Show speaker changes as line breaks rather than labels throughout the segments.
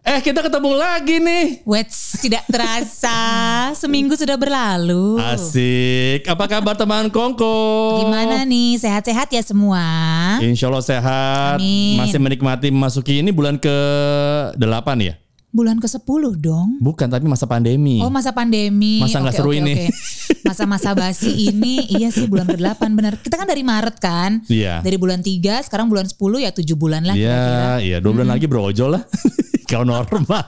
Eh kita ketemu lagi nih.
Wets, tidak terasa seminggu sudah berlalu.
Asik. Apa kabar teman Kongko?
Uh. Gimana nih? Sehat-sehat ya semua?
Insya Allah sehat.
Amin.
Masih menikmati memasuki ini bulan ke 8 ya?
Bulan ke-10 dong.
Bukan tapi masa pandemi.
Oh, masa pandemi.
Masa nggak
Oke,
seru
oke,
ini.
oke. Masa-masa basi ini iya sih bulan ke-8 benar. Kita kan dari Maret kan?
Iya.
Dari bulan 3, sekarang bulan 10 ya 7 bulan lah kira-kira.
Iya, iya. Dua bulan lagi brojol lah. Kalau normal.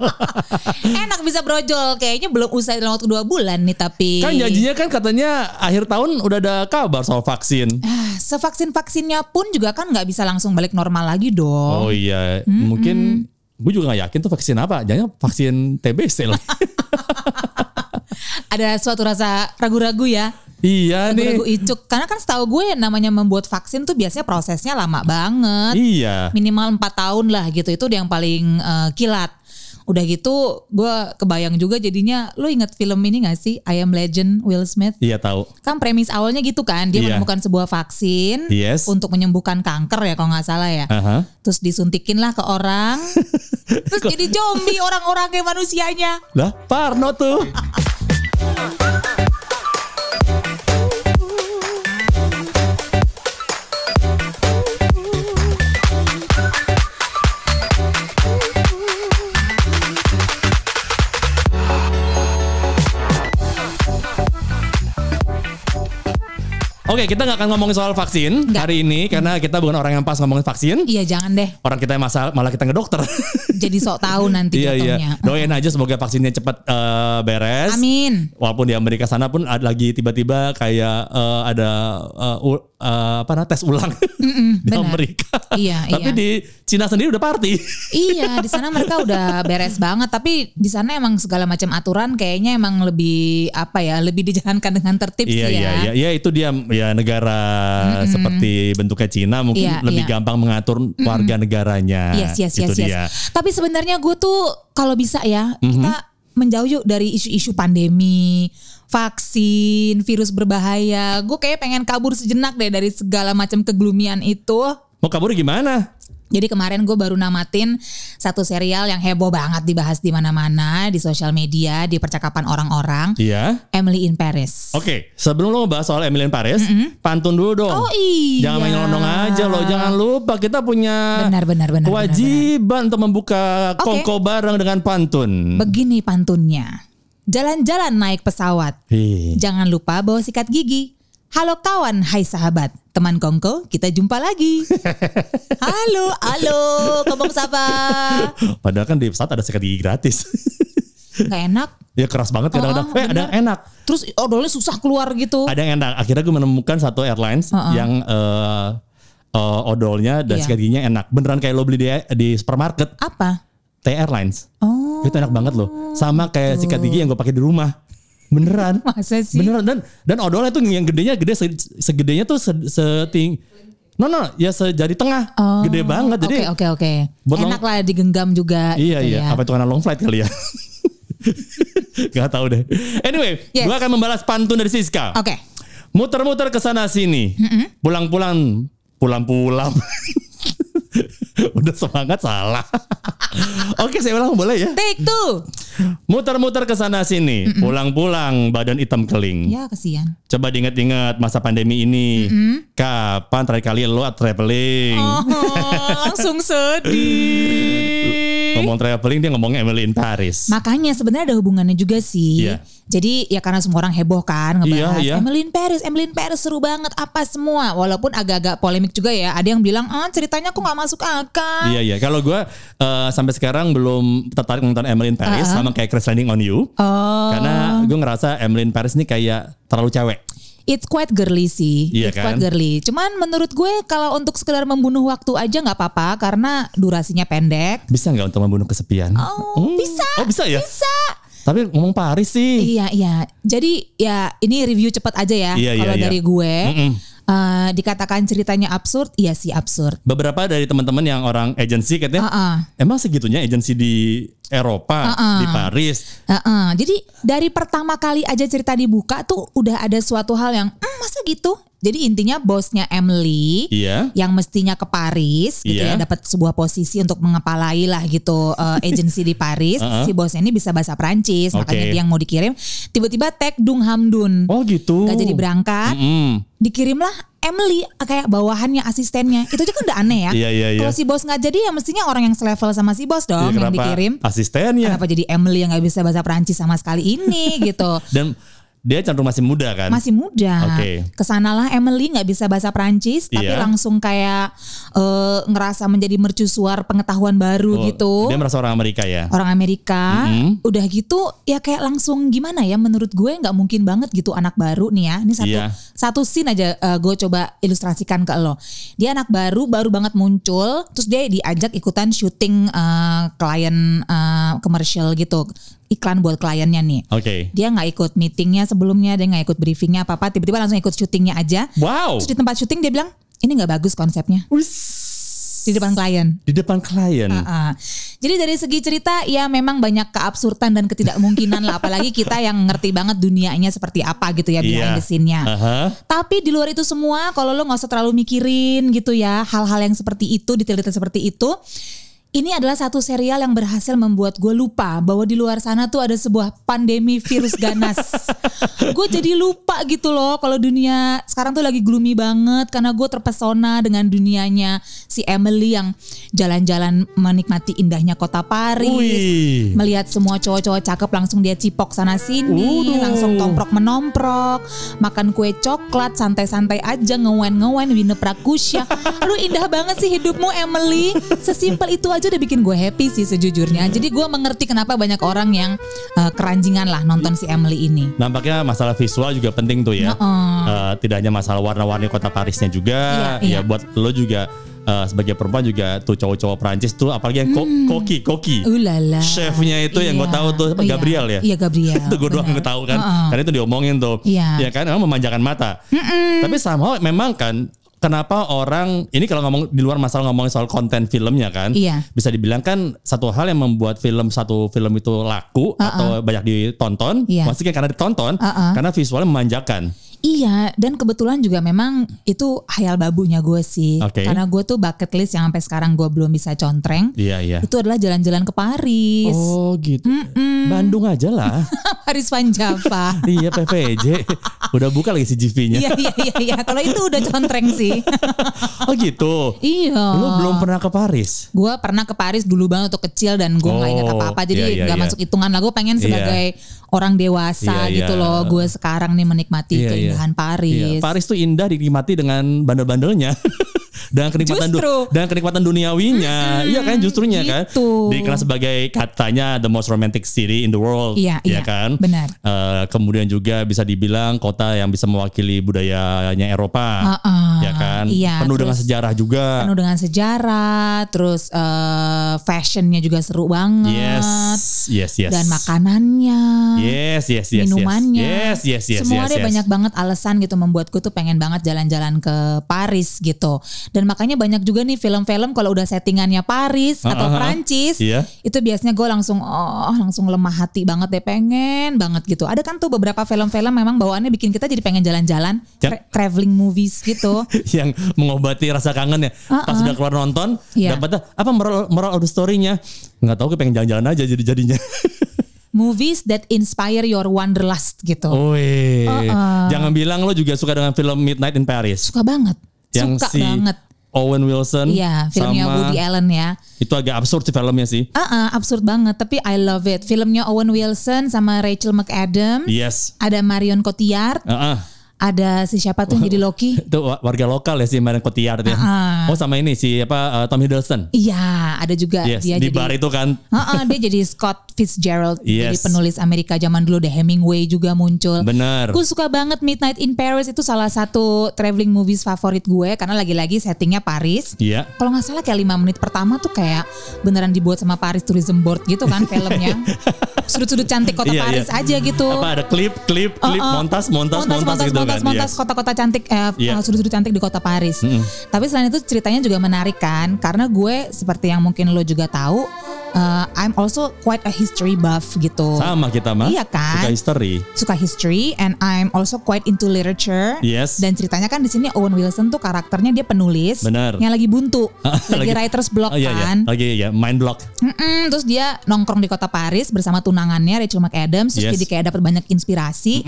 Enak bisa brojol. Kayaknya belum usai dalam waktu 2 bulan nih tapi.
kan janjinya kan katanya akhir tahun udah ada kabar soal vaksin.
Ah, Sevaksin-vaksinnya pun juga kan nggak bisa langsung balik normal lagi
Oh
dong.
iya, mungkin gue juga gak yakin tuh vaksin apa. Jangan vaksin TBC lah.
Ada suatu rasa ragu-ragu ya.
iya nih.
Ragu-ragu icuk. Karena kan setahu gue namanya membuat vaksin tuh biasanya prosesnya lama banget.
Iya.
Minimal 4 tahun lah gitu. Itu yang paling eh, kilat. Udah gitu gue kebayang juga jadinya lo inget film ini gak sih? I Am Legend Will Smith.
Iya tahu.
Kan premis awalnya gitu kan. Dia
Iya.
menemukan sebuah vaksin
Yes.
untuk menyembuhkan kanker ya kalau nggak salah ya.
Aha.
Terus disuntikin lah ke orang. Terus jadi zombie orang-orang kayak manusianya.
Lah, Parno tuh. Oke, kita nggak akan ngomongin soal vaksin
Nggak.
hari ini karena kita bukan orang yang pas ngomongin vaksin.
Iya jangan deh.
Orang kita yang masalah malah kita ke dokter.
Jadi sok tahu nanti
Iya iya.
jatuhnya.
Doain aja semoga vaksinnya cepat eh, beres.
Amin.
Walaupun di Amerika sana pun ada lagi tiba-tiba kayak eh, ada eh, u- eh, apa namanya tes ulang di
benar.
Amerika.
Iya,
Tapi
iya.
di Cina sendiri udah party.
iya, di sana mereka udah beres banget, tapi di sana emang segala macam aturan kayaknya emang lebih apa ya, lebih dijalankan dengan tertib
iya
sih ya.
iya iya. Iya itu dia ya negara seperti bentuknya Cina mungkin
Iya,
lebih
iya.
gampang mengatur warga negaranya.
Yes, yes,
itu
yes, yes.
dia.
iya,
Mhm.
Tapi sebenarnya gue tuh kalau bisa ya, kita menjauh yuk dari isu-isu pandemi, vaksin, virus berbahaya. Gue kayak pengen kabur sejenak deh dari segala macam keglumian itu.
Mau kabur gimana?
Jadi kemarin gue baru namatin satu serial yang heboh banget dibahas di mana-mana, di sosial media, di percakapan orang-orang.
Iya.
Emily in Paris.
Oke, sebelum lo bahas soal Emily in Paris, pantun dulu dong.
Oh iya.
Jangan main lonong aja loh, jangan lupa kita punya
Benar, benar, benar,
kewajiban untuk membuka
Oke.
kongko bareng dengan pantun.
Begini pantunnya. Jalan-jalan naik pesawat.
Ih,
Jangan lupa bawa sikat gigi. Halo kawan, hai sahabat. Teman Kongko, kita jumpa lagi. halo, halo, ngomong siapa?
Padahal kan di pesawat ada sikat gigi gratis.
Gak enak.
ya keras banget kadang-kadang.
Oh,
eh, ada yang enak.
Terus odolnya susah keluar gitu.
Ada yang enak. Akhirnya gue menemukan satu airlines yang eh, eh, odolnya dan
Iya.
sikat giginya enak. Beneran kayak lo beli di di supermarket
Apa?
T Airlines.
Oh,
Itu enak banget loh. Sama kayak sikat gigi yang gue pakai di rumah. Beneran.
masa sih?
Beneran dan dan odolnya tuh yang gedenya gede se- segedenya tuh se- seting No no, no, ya sejari tengah.
Oh,
gede banget jadi
Oke, oke, oke.
Buat
Enak lah digenggam juga.
Iya
gitu
iya.
ya.
Apa itu karena long flight kali ya? Gak tahu deh. Anyway,
Yes.
gua akan membalas pantun dari Siska.
Oke.
Muter-muter ke sana sini. Pulang-pulang, pulang-pulang. Udah semangat salah. Oke, saya ulang boleh ya.
Take two.
Muter-muter ke sana sini, pulang-pulang badan hitam keling.
Ya, kasihan.
Coba diingat-ingat masa pandemi ini. Kapan terakhir kali lo traveling?
Oh, langsung sedih.
Ngomong traveling dia ngomong Emily in Paris.
Makanya sebenarnya ada hubungannya juga sih.
Iya.
Jadi ya karena semua orang heboh kan
Iya,
ngebahas
iya.
Emily in Paris, Emily in Paris seru banget apa semua. Walaupun agak-agak polemik juga ya. Ada yang bilang ah ceritanya kok nggak masuk akal.
Iya iya. Kalau gue eh, sampai sekarang belum tertarik nonton Emily in Paris sama kayak Crash Landing on You. Kan?
Oh,
Karena gue ngerasa Emily in Paris ini kayak terlalu cewek.
it's quite girly sih.
Iya
it's
kan?
quite girly. Cuman menurut gue kalau untuk sekedar membunuh waktu aja nggak apa-apa karena durasinya pendek.
Bisa nggak untuk membunuh kesepian?
Oh, bisa.
Oh bisa ya.
Bisa.
Tapi ngomong Paris sih.
Iya iya. Jadi ya ini review cepat aja ya.
Iya,
Kalau
iya, iya.
dari gue
Mm-mm.
eh, dikatakan ceritanya absurd, iya sih absurd.
Beberapa dari teman-teman yang orang agensi katanya,
Ah, ah.
emang segitunya agensi di Eropa
Heeh.
di Paris
Heeh. Jadi dari pertama kali aja cerita dibuka tuh udah ada suatu hal yang "Hmm, masa gitu. Jadi intinya bosnya Emily
Iya.
yang mestinya ke Paris gitu
Iya.
ya dapat sebuah posisi untuk mengepalai lah gitu eh, agensi di Paris.
Heeh.
Si bosnya ini bisa bahasa Prancis
Oke.
makanya dia yang mau dikirim tiba-tiba tag Dung Hamdun.
Oh gitu.
Gak jadi berangkat,
Mm-mm.
dikirimlah Emily eh, kayak bawahannya asistennya. Itu aja kan udah aneh ya.
Iya, iya, iya.
Kalau si bos nggak jadi ya mestinya orang yang selevel sama si bos
Jadi
dong yang
Iya, kenapa Iya. ya?
dikirim.
asistennya?
Kenapa jadi Emily yang nggak bisa bahasa Perancis sama sekali ini gitu?
Dan dia cenderung masih muda kan?
Masih muda.
Oke.
Kesanalah Emily nggak bisa bahasa Perancis, tapi
Iya.
langsung kayak eh, ngerasa menjadi mercusuar pengetahuan baru
Oh,
gitu.
Dia merasa orang Amerika ya.
Orang Amerika,
Mm-mm.
udah gitu ya kayak langsung gimana ya? Menurut gue nggak mungkin banget gitu anak baru nih ya. Ini satu
Iya.
satu scene aja eh, gue coba ilustrasikan ke lo. Dia anak baru, baru banget muncul, terus dia diajak ikutan syuting eh, klien eh, komersial gitu, iklan buat kliennya nih.
Oke.
Dia nggak ikut meetingnya sebelumnya, dia nggak ikut briefingnya apa apa, tiba-tiba langsung ikut syutingnya aja.
Wow.
Terus di tempat syuting dia bilang ini nggak bagus konsepnya
Wis.
di depan klien.
Di depan klien.
Ah. Jadi dari segi cerita ya memang banyak keabsurdan dan ketidakmungkinan lah apalagi kita yang ngerti banget dunianya seperti apa gitu ya behind
Iya.
the scene-nya.
Aha.
Tapi di luar itu semua kalau lo nggak usah terlalu mikirin gitu ya hal-hal yang seperti itu detail-detail seperti itu. Ini adalah satu serial yang berhasil membuat gue lupa bahwa di luar sana tuh ada sebuah pandemi virus ganas. gue jadi lupa gitu loh kalau dunia sekarang tuh lagi gloomy banget karena gue terpesona dengan dunianya si Emily yang jalan-jalan menikmati indahnya kota Paris
Wih.
melihat semua cowok-cowok cakep langsung dia cipok sana sini
Waduh.
langsung tomprok menomprok makan kue coklat santai-santai aja ngewen ngewen wine prakusya aduh indah banget sih hidupmu Emily sesimpel itu aja udah bikin gue happy sih sejujurnya
Iya.
jadi gue mengerti kenapa banyak orang yang eh, keranjingan lah nonton si Emily ini
Nampaknya masalah visual juga penting tuh ya.
Heeh.
Eh, tidak hanya masalah warna-warni kota Parisnya juga,
Iya, iya.
ya buat lo juga eh, sebagai perempuan juga tuh cowok-cowok Prancis tuh apalagi yang ko-
Hmm.
koki koki.
ulala
Chefnya itu yang gue
Iya.
tahu tuh apa,
Iya.
Gabriel ya.
iya Gabriel
itu gue doang
benar.
yang tahu kan
Heeh.
karena itu diomongin tuh
Iya.
ya kan emang memanjakan mata tapi somehow memang kan kenapa orang ini kalau ngomong di luar masalah ngomongin soal konten filmnya kan
Iya.
bisa dibilang kan satu hal yang membuat film satu film itu laku atau banyak ditonton
Iya.
maksudnya karena ditonton
Heeh.
karena visualnya memanjakan
Iya, dan kebetulan juga memang itu hayal babunya gue sih.
Oke.
Karena gue tuh bucket list yang sampai sekarang gue belum bisa contreng.
iya iya
Itu adalah jalan-jalan ke Paris.
oh gitu Bandung aja lah
Paris Van Java.
iya PVJ udah buka lagi CGV-nya
Iya, iya, iya. iya. Kalau itu udah contreng sih.
oh gitu
iya.
lu belum pernah ke Paris
Gue pernah ke Paris dulu banget waktu kecil dan gue nggak ingat
Oh,
apa-apa.
iya,
Jadi
iya,
nggak
iya.
masuk hitungan lah. Gue pengen
Iya.
sebagai orang dewasa
Iya,
gitu
iya.
loh. Gue sekarang nih menikmati
Iya,
keindahan
iya. Iya,
Paris.
Paris tuh indah dinikmati dengan bandel-bandelnya. dan kenikmatan du-
Justru.
dan kenikmatan duniawinya. Iya kan justrunya kan.
gitu.
Dikenal sebagai katanya the most romantic city in the world.
Iya, iya,
kan?
benar.
Eh, kemudian juga bisa dibilang kota yang bisa mewakili budayanya Eropa.
Heeh,
ya kan?
iya,
penuh dengan
terus-
sejarah juga.
penuh dengan sejarah, terus eh, fashionnya juga seru banget,
Yes. Yes, yes.
dan makanannya,
Yes, yes, yes, yes.
minumannya,
Yes, yes, yes, yes,
semua ada
yes.
banyak banget alasan gitu membuatku tuh pengen banget jalan-jalan ke Paris gitu, dan makanya banyak juga nih film-film kalau udah settingannya Paris atau
Ah, ah, ah.
Prancis,
Iya.
itu biasanya gue langsung oh langsung lemah hati banget deh pengen banget gitu, ada kan tuh beberapa film-film memang bawaannya bikin kita jadi pengen jalan-jalan,
Yang-
tra- traveling movies gitu.
yang mengobati rasa kangen ya. Pas udah keluar nonton,
Iya.
dapatnya apa moral moral of the story-nya? Nggak tahu, gue pengen jalan-jalan aja jadi jadinya.
movies that inspire your wanderlust
Oh.
gitu.
Woi, jangan bilang lo juga suka dengan film Midnight in Paris
Suka banget.
yang
Suka
si
banget.
Owen Wilson
Iya, filmnya
sama
Woody Allen ya.
itu agak absurd sih filmnya sih.
Ah, ah, absurd banget, tapi I love it. Filmnya Owen Wilson sama Rachel McAdams,
Yes.
ada Marion Cotillard,
Heeh.
ada si siapa tuh yang jadi Loki?
Itu wa- warga lokal ya si Marion Cotillard ya.
Ah.
Oh sama ini si apa uh, Tom Hiddleston.
Iya, ada juga
Yes,
dia
di
jadi
bar itu kan.
Ah, ah, dia jadi Scott Fitzgerald, jadi
Yes.
penulis Amerika zaman dulu, The Hemingway juga muncul.
Bener.
Gue suka banget Midnight in Paris itu salah satu traveling movies favorit gue karena lagi-lagi settingnya Paris.
Iya.
Kalau nggak salah kayak lima menit pertama tuh kayak beneran dibuat sama Paris Tourism Board gitu kan filmnya. Sudut-sudut cantik kota
Iya,
Paris
iya.
aja gitu.
Apa ada klip, klip, klip,
Uh-uh.
montas, montas, montas,
montas,
gitu
montas,
kan.
montas,
Yes.
kota-kota cantik, eh,
Iya.
eh, sudut-sudut cantik di kota Paris. Tapi selain itu ceritanya juga menarik kan, karena gue seperti yang mungkin lo juga tahu, uh, I'm also quite a history buff gitu.
Sama kita mah.
Iya kan?
Suka history.
suka history and I'm also quite into literature.
Yes.
Dan ceritanya kan di sini Owen Wilson tuh karakternya dia penulis
Benar.
yang lagi buntu, lagi,
Lagi-
writer's block
Oh iya, iya.
kan.
Lagi ya, mind block.
Mm-mm, terus dia nongkrong di kota Paris bersama tunangannya Rachel McAdams terus
Yes.
jadi kayak dapat banyak inspirasi.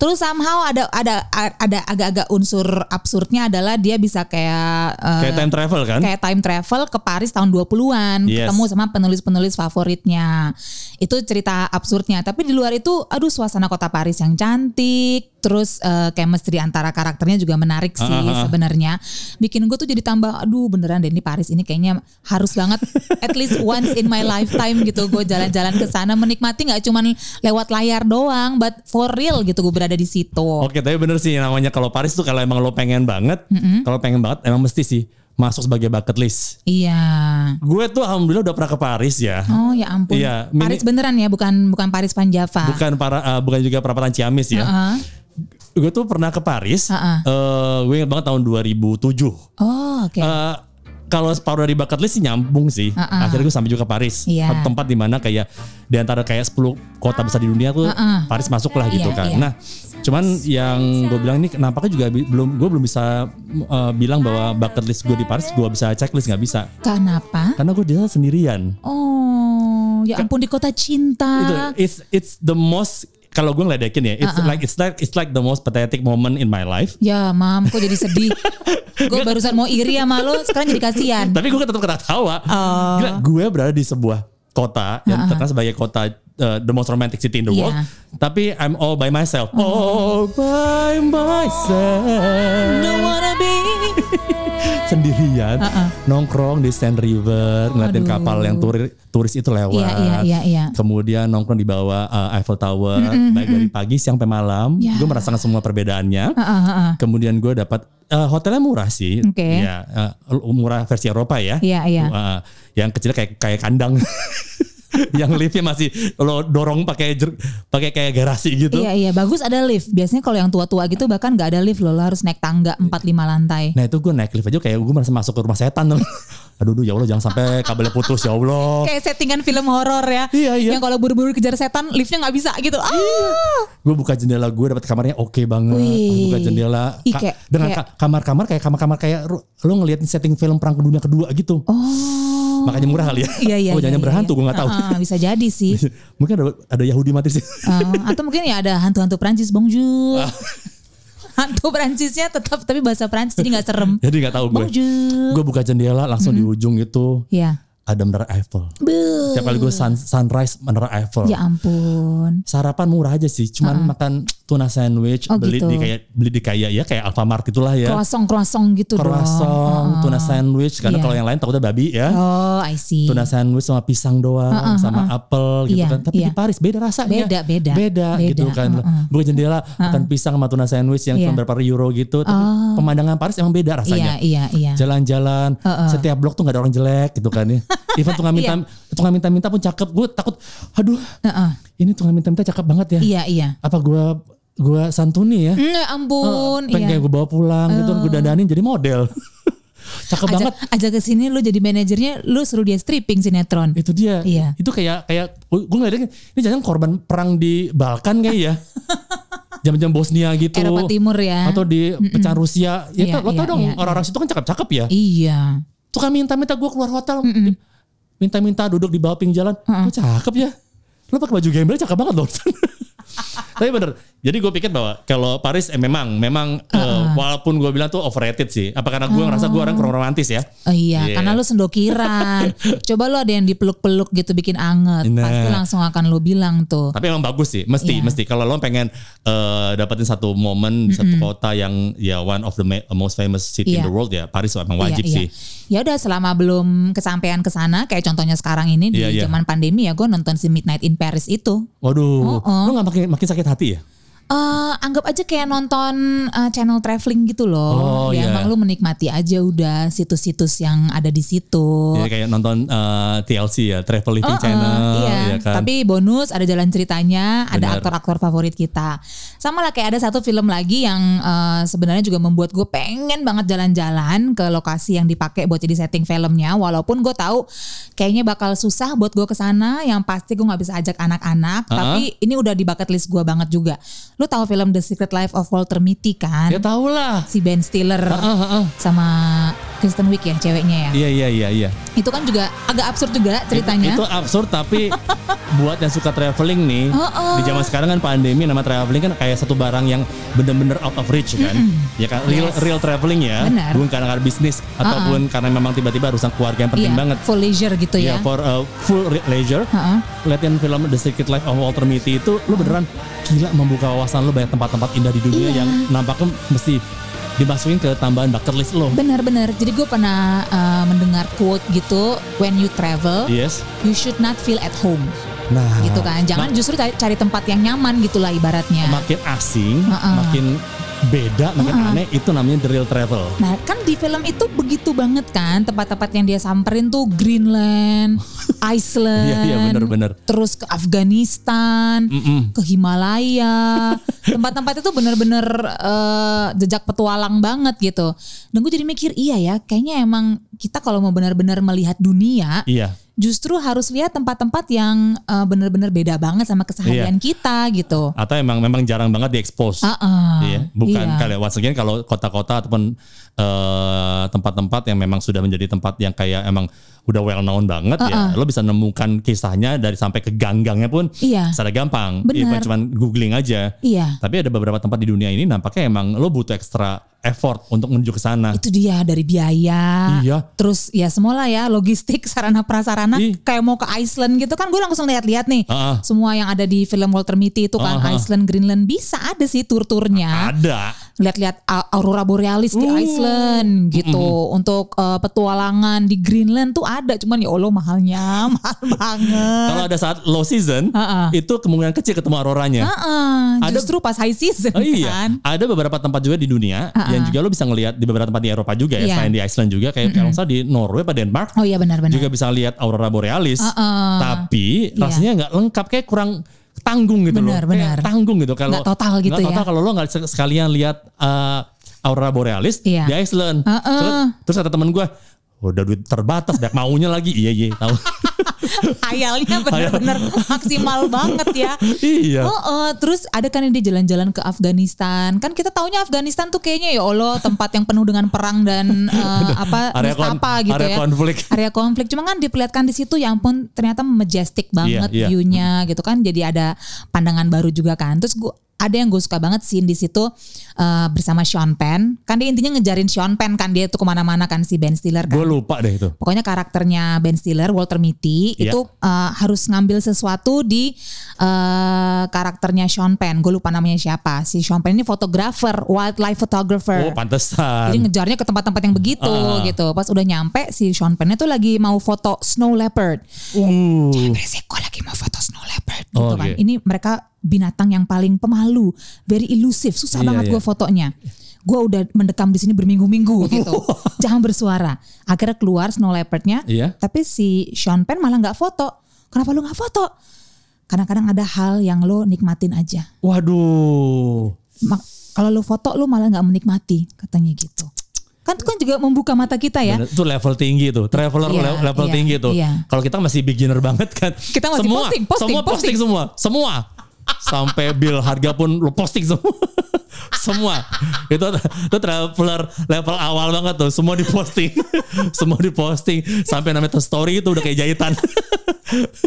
Terus somehow ada ada ada agak-agak unsur absurdnya adalah dia bisa kayak eh,
Kayak time travel kan?
kayak time travel ke Paris tahun 20-an,
Yes.
ketemu sama penulis-penulis favoritnya. Itu cerita absurdnya, tapi di luar itu aduh suasana kota Paris yang cantik, terus eh, chemistry antara karakternya juga menarik sih
Ah, ah, ah.
sebenarnya. Bikin gue tuh jadi tambah aduh beneran deh ini Paris ini kayaknya harus banget at least once in my lifetime gitu gue jalan-jalan ke sana menikmati nggak cuman lewat layar doang, but for real gitu gue berada di situ.
Oke, tapi bener sih namanya kalau Paris tuh kalau emang lo pengen banget, kalau pengen banget emang mesti sih masuk sebagai bucket list.
Iya.
Gue tuh alhamdulillah udah pernah ke Paris ya.
Oh ya ampun.
Iya, mini-
Paris beneran ya, bukan bukan Paris Van Java.
Bukan para eh, bukan juga perapatan Ciamis ya.
Heeh.
Gue tuh pernah ke Paris.
Heeh.
eh, gue ingat banget tahun 2007.
Oh, oke.
Eh, kalau separuh dari bucket list sih nyambung sih.
Heeh.
Akhirnya gue sampai juga ke Paris.
Iya.
Satu Tempat dimana kayak di antara kayak 10 kota besar di dunia tuh
Heeh.
Paris masuk lah gitu
Iya,
kan.
iya.
Nah, cuman yang gue bilang ini kenapa juga bi- belum gue belum bisa eh, bilang bahwa bucket list gue di Paris gue bisa checklist nggak bisa.
Kenapa?
Karena gue di sana sendirian.
Oh, ya ampun di kota
Itu ya?
cinta.
it's it's the most kalau gue ngeledekin ya, it's like it's like it's like the most pathetic moment in my life.
Ya, mam, kok jadi sedih. gue barusan mau iri sama lo, sekarang jadi kasihan.
Tapi gue tetap ketawa.
Oh.
Gila, gue berada di sebuah kota yang
Uh-huh.
terkenal sebagai kota uh, the most romantic city in the world.
Iya.
Tapi I'm all by myself.
Uh-huh.
All by myself.
Don't wanna be.
Sendirian
Uh-uh.
nongkrong di Sand River, ngeliatin
Aduh.
kapal yang turis turis itu lewat.
Iya, iya, iya, iya.
Kemudian nongkrong di bawah uh, Eiffel Tower baik dari pagi siang sampai malam.
Ya.
Gue merasakan semua perbedaannya.
Ah, ah, ah, ah.
Kemudian gue dapat eh, hotelnya murah sih,
Oke.
ya eh, murah versi Eropa ya.
Iya, iya.
Eh, yang kecil kayak kayak kandang, yang liftnya masih lo dorong pakai jer- pakai kayak garasi gitu.
Iya, iya, bagus ada lift. Biasanya kalau yang tua-tua gitu bahkan nggak ada lift lo, lo harus naik tangga
Iya.
4 5 lantai.
Nah itu gue naik lift aja kayak gue merasa masuk ke rumah setan. Aduh, aduh ya Allah jangan sampai kabelnya putus ya Allah.
Kayak settingan film horor ya.
Iya, iya.
Yang kalau buru-buru kejar setan, liftnya nggak bisa gitu. Ah.
Gue buka jendela gue dapat kamarnya oke banget.
Wih.
Buka jendela
Ih,
ka-
kayak-
dengan
kayak-
ka- kamar-kamar kayak kamar-kamar kayak ru- lo ngeliatin setting film perang dunia kedua gitu.
Oh.
Makanya murah kali ya.
Iya, iya.
oh jangan
iya,
berhantu
iya.
gue nggak tahu.
Ah, ah, bisa jadi sih.
Mungkin ada, ada Yahudi mati sih.
Oh, atau mungkin ya ada hantu-hantu Prancis bonjour.
Ah.
Hantu Prancisnya tetap tapi bahasa Prancis jadi nggak serem.
Jadi nggak tahu gue.
Bonjour.
Gue buka jendela langsung
Mm-hmm.
di ujung itu
Ya.
ada menara Eiffel.
Beuh.
Setiap kali gue sun- sunrise menara Eiffel.
Ya ampun.
Sarapan murah aja sih, cuman makan tuna sandwich,
Oh,
beli
gitu.
di kayak beli di kayak ya kayak Alfamart itulah ya.
Croissant-croissant gitu dong.
Croissant, tuna sandwich karena
Iya.
kalau yang lain takutnya babi ya.
Oh, I see.
Tuna sandwich sama pisang doang, sama apel gitu
Iya,
kan. Tapi
iya.
di Paris beda rasanya.
Beda, beda.
Beda, gitu
Beda,
kan.
heeh.
Bukan jendela makan pisang sama tuna sandwich yang
Iya. Oh.
cuma berapa euro gitu, tapi pemandangan Paris emang beda rasanya.
Iya, iya, iya.
jalan-jalan setiap blok tuh nggak ada orang jelek gitu kan ya even tukang minta
Iya.
tukang minta-minta pun cakep gue takut aduh
Heeh.
ini tukang minta-minta cakep banget ya
Iya, iya.
apa gue gue santuni ya
Hmm, ya ampun,
pengen
iya.
kayak gue bawa pulang gitu gue dandanin jadi model cakep
Ajak,
banget
ajak ke sini lu jadi manajernya, lu suruh dia stripping sinetron.
itu dia
Iya.
itu kayak kayak gue ngeliatnya ini jangan korban perang di Balkan kayak ya jam-jam Bosnia gitu
Eropa Timur ya.
atau di pecahan Rusia ya
Iya,
kan, lo tau
iya,
dong
iya,
orang-orang situ kan cakep-cakep ya
Iya.
tukang minta-minta gue keluar hotel minta-minta duduk di bawah ping jalan Lo cakep ya lo pakai baju gembel cakep banget loh tapi bener jadi gue pikir bahwa kalau Paris eh, memang memang eh, walaupun gue bilang tuh overrated sih apa karena gue ngerasa gue orang kurang romantis ya
Oh iya,
Iya.
karena lu sendokiran. Coba lu ada yang dipeluk-peluk gitu bikin anget,
Nah.
pasti langsung akan lu bilang tuh.
tapi emang bagus sih mesti
Iya.
mesti kalau lo pengen eh, dapetin satu momen di satu kota yang ya one of the ma- most famous city in
Iya.
the world ya Paris emang wajib
Iya,
sih
iya. Ya udah selama belum kesampaian ke sana, kayak contohnya sekarang ini di
Iya, iya.
zaman pandemi ya gue nonton si Midnight in Paris itu.
waduh
Oh, oh.
lo nggak makin makin sakit hati ya
eh, anggap aja kayak nonton eh, channel traveling
Oh,
gitu loh.
iya.
ya emang lu menikmati aja udah situs-situs yang ada di situ.
Ya, kayak nonton eh, TLC ya, Travel Living
Oh,
Channel,
eh, iya.
ya kan.
Tapi bonus ada jalan ceritanya, ada
Benar.
aktor-aktor favorit kita. Sama lah kayak ada satu film lagi yang eh, sebenarnya juga membuat gue pengen banget jalan-jalan ke lokasi yang dipakai buat jadi setting filmnya. Walaupun gue tahu kayaknya bakal susah buat gue kesana. Yang pasti gue nggak bisa ajak anak-anak.
Uh-uh.
Tapi ini udah di bucket list gue banget juga. Lu tahu film The Secret Life of Walter Mitty kan?
ya tau lah.
Si Ben Stiller
Ah, ah, ah.
sama Kristen Wiig ya ceweknya ya.
Iya iya iya iya.
Itu kan juga agak absurd juga ceritanya.
Itu absurd tapi buat yang suka traveling nih
Heeh.
di zaman sekarang kan pandemi nama traveling kan kayak satu barang yang bener-bener out of reach kan. Ya kan real
Yes.
real traveling ya.
Benar.
Bukan karena karena bisnis ataupun karena memang tiba-tiba urusan keluarga yang penting
Iya,
banget.
For leisure gitu
Ya
ya.
for uh, full re- leisure.
Heeh.
Liatin film The Secret Life of Walter Mitty itu lu beneran gila membuka wawasan lu banyak tempat-tempat indah di dunia
Iya.
yang nampaknya mesti dimasukin ke tambahan bucket list lo.
Benar-benar. Jadi gue pernah eh, mendengar quote gitu, when you travel,
Yes.
you should not feel at home,
Nah,
gitu kan. Jangan justru cari, cari tempat yang nyaman gitulah ibaratnya.
makin asing,
Heeh.
makin beda, makin aneh itu namanya the real travel.
Nah kan di film itu begitu banget kan tempat-tempat yang dia samperin tuh Greenland, Iceland,
Iya, iya, benar-benar.
terus ke Afghanistan,
Mm-mm.
ke Himalaya, tempat-tempat itu benar-benar eh, jejak petualang banget gitu. Dan gue jadi mikir iya ya, kayaknya emang kita kalau mau benar-benar melihat dunia,
Iya.
justru harus lihat tempat-tempat yang eh, benar-benar beda banget sama
Iya.
keseharian kita gitu.
Atau emang memang jarang banget diekspos.
Ah,
Iya, bukan
iya.
kalau once again kalau kota-kota ataupun eh, tempat-tempat yang memang sudah menjadi tempat yang kayak emang udah well known banget ya. Lo bisa nemukan kisahnya dari sampai ke gang-gangnya pun
Iya.
secara gampang.
Benar.
Even cuman googling aja.
Iya.
Tapi ada beberapa tempat di dunia ini nampaknya emang lo butuh ekstra effort untuk menuju ke sana.
Itu dia dari biaya.
Iya.
Terus ya semua lah ya logistik sarana prasarana
Ih.
kayak mau ke Iceland gitu kan gue langsung lihat-lihat nih.
Ah, ah.
Semua yang ada di film Walter Mitty itu kan
Ah, ah.
Iceland, Greenland bisa ada sih tur-turnya.
Ada.
Lihat-lihat a- aurora borealis
Uh.
di Iceland gitu. Untuk eh, petualangan di Greenland tuh ada cuman ya Allah mahalnya, mahal banget.
Kalau ada saat low season,
Ah, ah.
itu kemungkinan kecil ketemu auroranya.
Heeh,
Ada-
justru pas high season
Oh iya,
kan.
ada beberapa tempat juga di dunia yang juga lo bisa ngelihat di beberapa tempat di Eropa juga ya,
Iya.
selain di Iceland juga kayak kalau nggak salah di Norway pada Denmark
Oh iya benar-benar.
juga bisa lihat aurora borealis.
Heeh.
Tapi
Iya.
rasanya nggak lengkap kayak kurang tanggung gitu
Benar,
loh. Kayak
benar.
tanggung gitu kalau
Nggak total gitu
nggak total
ya.
kalau lo nggak se- sekalian lihat eh, aurora borealis
Iya.
di Iceland.
Heeh.
Terus, terus ada teman gue udah duit terbatas banyak maunya lagi iya iya tahu
Hayalnya benar-benar maksimal banget ya.
iya
Oh, eh, terus ada kan yang dia jalan-jalan ke Afghanistan. Kan kita taunya Afghanistan tuh kayaknya ya Allah tempat yang penuh dengan perang dan eh, apa
area, kon-
apa gitu
area
ya.
konflik
Area konflik. Cuma kan diperlihatkan di situ ya ampun ternyata majestic banget
Iya, iya.
view-nya gitu kan. Jadi ada pandangan baru juga kan. Terus gua ada yang gue suka banget scene di situ eh, bersama Sean Penn. Kan dia intinya ngejarin Sean Penn kan dia tuh kemana-mana kan si Ben Stiller kan
gue lupa deh itu
pokoknya karakternya Ben Stiller Walter Mitty
Iya.
itu uh, harus ngambil sesuatu di uh, karakternya Sean Penn gue lupa namanya siapa si Sean Penn ini fotografer wildlife
oh
photographer
pantesan
Eh. jadi ngejarnya ke tempat-tempat yang begitu
Ah.
gitu pas udah nyampe si Sean Penn itu lagi mau foto snow leopard
Uh.
Berisik, gue lagi mau foto snow leopard gitu
Oh,
kan.
oke.
Ini mereka binatang yang paling pemalu, very elusive, susah
Iya,
banget
iya. Oh.
gue fotonya. Gue udah mendekam di sini berminggu-minggu gitu. Jangan bersuara. Akhirnya keluar snow leopardnya.
Iya.
Tapi si Sean Penn malah nggak foto. Kenapa lu nggak foto? Kadang-kadang ada hal yang lo nikmatin aja.
Waduh.
Mak- Kalau lu foto lu malah nggak menikmati katanya gitu. Kan itu kan juga membuka mata kita ya.
Bener, itu level tinggi tuh. Traveler
Iya,
le- level
iya,
tinggi tuh.
iya.
Kalau kita masih beginner banget kan.
Kita masih
semua,
posting, posting,
semua posting,
posting.
semua. Semua. Sampai bill harga pun lu posting semua. semua. Itu itu traveler level awal banget tuh. Semua diposting. semua diposting sampai namanya tuh story itu udah kayak jahitan.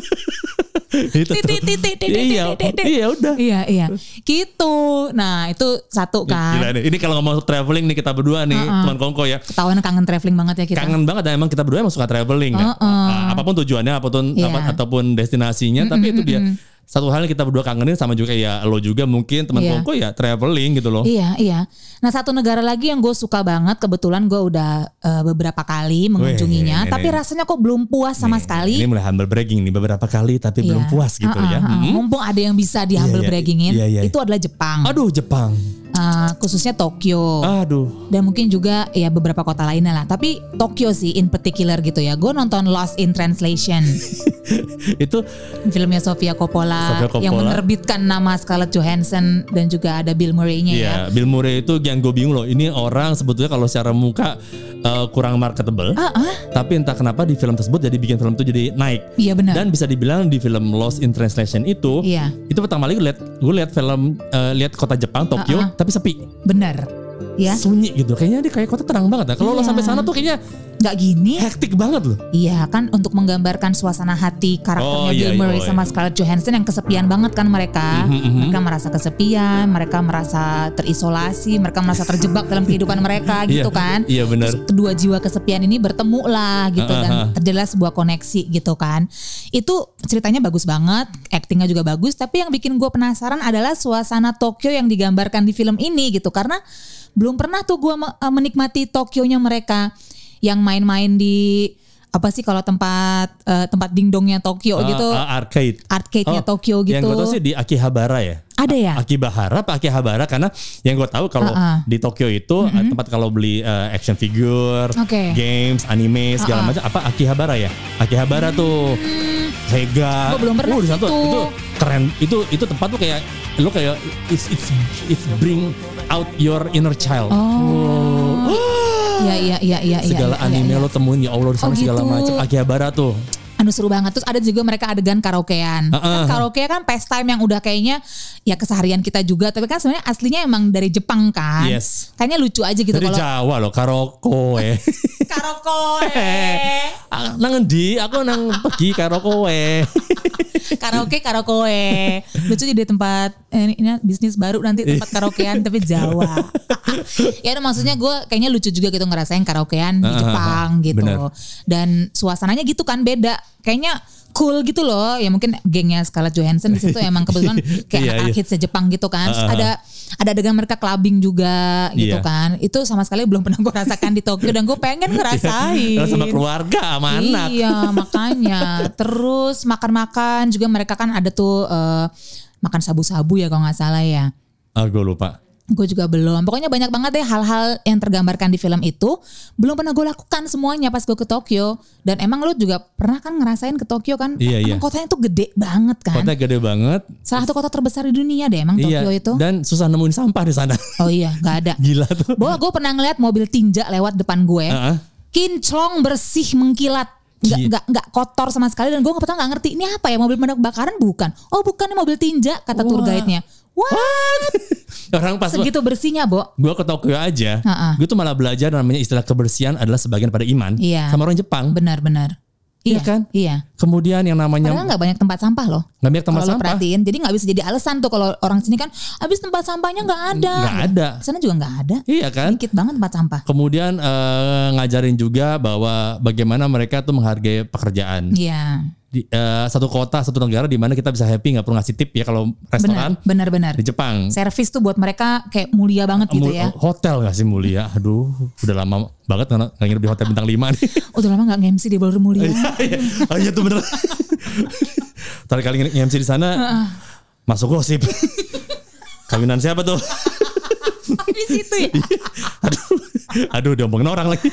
itu tuh.
Titik, titik, titik,
Iya,
titik, titik.
iya udah.
Iya iya gitu. Nah itu satu kan.
Gila nih. Ini kalau ngomong traveling nih kita berdua nih, teman Kongko ya.
ketahuan kangen traveling banget ya kita.
kangen banget dan emang kita berdua emang suka traveling kan.
Heeh.
Nah, apapun tujuannya apapun
Iya.
apa- ataupun destinasinya tapi itu dia satu hal yang kita berdua kangenin sama juga ya lo juga mungkin teman
Iya.
teman gue ya traveling gitu loh.
Iya, iya. Nah, satu negara lagi yang gue suka banget, kebetulan gue udah eh, beberapa kali mengunjunginya,
Wih,
tapi
ini-
rasanya kok belum puas sama
Nih,
sekali.
Ini mulai humble bragging nih beberapa kali tapi belum
Iya.
puas gitu
Ah, ah,
ya.
ah.
Mm.
Mumpung ada yang bisa di humble
Iya, iya,
braggingin,
iya, iya.
itu adalah Jepang,
Aduh Jepang.
Eh, khususnya Tokyo.
Oh. Aduh.
dan mungkin juga ya beberapa kota lainnya lah tapi Tokyo sih in particular gitu ya gue nonton Lost in Translation
Itu
filmnya Sofia Coppola,
Sofia Coppola.
yang menerbitkan nama Scarlett Johansson dan juga ada Bill Murray-nya ya
Iya, Bill Murray itu yang gue bingung loh. Ini orang sebetulnya kalau secara muka eh, kurang marketable,
ah ah
tapi entah kenapa di film tersebut jadi bikin film itu jadi naik.
iya benar
Dan bisa dibilang di film Lost in Translation itu,
iya
itu pertama kali gue lihat gue lihat film eh, lihat kota Jepang Tokyo,
Ah, ah.
tapi sepi,
benar ya
sunyi gitu. Kayaknya dia kayak kota terang banget. Nah, kalau lo
Iya.
sampai sana tuh kayaknya
nggak gini
hektik banget loh.
Iya kan untuk menggambarkan suasana hati karakternya
Oh, iya,
Bill
iya,
Murray
oh, iya. Hmm.
sama Scarlett Johansson yang kesepian banget kan mereka.
Mhm, mhm.
Mereka merasa kesepian, mereka merasa terisolasi, mereka merasa terjebak dalam kehidupan mereka gitu
Iya,
kan.
Iya benar.
Terus kedua jiwa kesepian ini bertemu lah gitu
Ah, ah,
dan
ah.
terjadilah sebuah koneksi gitu kan. Itu ceritanya bagus banget, aktingnya juga bagus. Tapi yang bikin gue penasaran adalah suasana Tokyo yang digambarkan di film ini gitu karena belum pernah tuh gue menikmati Tokyonya mereka yang main-main di apa sih kalau tempat eh, tempat dingdongnya Tokyo
Ah,
gitu,
ah, arcade.
arcade-nya
Oh,
Tokyo gitu.
Yang gue tau sih di Akihabara ya.
Ada ya?
Akihabara apa Akihabara karena yang gue tahu kalau
Ah, ah.
di Tokyo itu eh, tempat kalau beli eh, action figure,
Oke.
games, anime segala
Ah, ah.
macam apa Akihabara ya? Akihabara tuh Sega.
Gua belum pernah
Oh, di sana tuh-
situ.
Itu keren. Itu itu tempat tuh kayak lo kayak it's it's it's bring out your inner child.
Oh.
Wow.
Iya iya iya iya iya,
ah. segala
iya,
anime
iya.
lo temuin ya Allah di sana
Oh,
segala
gitu.
macam Akihabara tuh.
Aduh Anu seru banget. Terus ada juga mereka adegan karaokean.
Heeh.
Kan karaoke kan pastime yang udah kayaknya ya keseharian kita juga. Tapi kan sebenarnya aslinya emang dari Jepang kan.
Yes.
Kayaknya lucu aja gitu
Dari
kalau
Jawa loh karaoke.
karaoke.
Ah, nang endi aku nang pergi karo kowe
karaoke karaoke. Lucu jadi tempat eh, ini bisnis baru nanti tempat karaokean tapi Jawa. ya udah, maksudnya gue kayaknya lucu juga gitu ngerasain karaokean di
Ah, ah,
Jepang
ah.
gitu.
Bener.
Dan suasananya gitu kan beda. Kayaknya cool gitu loh. Ya mungkin gengnya Scarlett Johansson di situ emang kebetulan kayak
Iya,
anak
iya.
hits Jepang gitu kan. Terus
Ah, ah,
ada ada adegan mereka clubbing juga gitu
Iya.
kan. Itu sama sekali belum pernah gue rasakan di Tokyo dan gue pengen ngerasain.
Terus Iya. sama keluarga sama anak
Iya makanya. Terus makan-makan juga mereka kan ada tuh eh, makan sabu-sabu ya kalau nggak salah ya.
ah gue lupa
Gue juga belum. Pokoknya banyak banget deh hal-hal yang tergambarkan di film itu belum pernah gue lakukan semuanya pas gue ke Tokyo. Dan emang lu juga pernah kan ngerasain ke Tokyo kan?
Iya, iya.
Emang kotanya tuh gede banget kan?
kotanya gede banget
Salah satu kota terbesar di dunia deh emang
iya
Tokyo itu.
dan susah nemuin sampah di sana
Oh iya, nggak ada.
gila tuh Ah,
Bahwa gue pernah ngeliat mobil tinja lewat depan gue.
Heeh.
kinclong bersih mengkilat nggak
Gila.
nggak nggak kotor sama sekali dan gue nggak pertama nggak ngerti ini apa ya mobil pemadam kebakaran bukan oh bukan ini mobil tinja kata tour
Wah.
guide nya wah
orang pas
segitu bersihnya bo
gue ke Tokyo aja
Ha-ha.
gue tuh malah belajar namanya istilah kebersihan adalah sebagian pada iman
Iya.
sama orang Jepang
benar benar
Iya kan?
iya
kemudian yang
padahal
namanya
nggak banyak tempat sampah loh
nggak banyak tempat
kalau lo
sampah
perhatiin jadi nggak bisa jadi alasan tuh kalau orang sini kan habis tempat sampahnya nggak ada
nggak ada
Di sana juga nggak ada
iya kan
sedikit banget tempat sampah
kemudian eh, ngajarin juga bahwa bagaimana mereka tuh menghargai pekerjaan
iya
di, eh, satu kota satu negara di mana kita bisa happy nggak perlu ngasih tip ya kalau restoran
benar benar benar
di Jepang
servis tuh buat mereka kayak mulia banget gitu
Mul-
ya
hotel nggak sih mulia aduh udah lama banget nggak nggak nginep di hotel bintang 5 nih
udah lama nggak ngemsi di Ballroom Mulia
Iya, oh iya tuh bener tarik kali nginep nginep di sana masuk gosip kawinan siapa tuh
di situ
Iya.
ya
aduh aduh diomongin orang lagi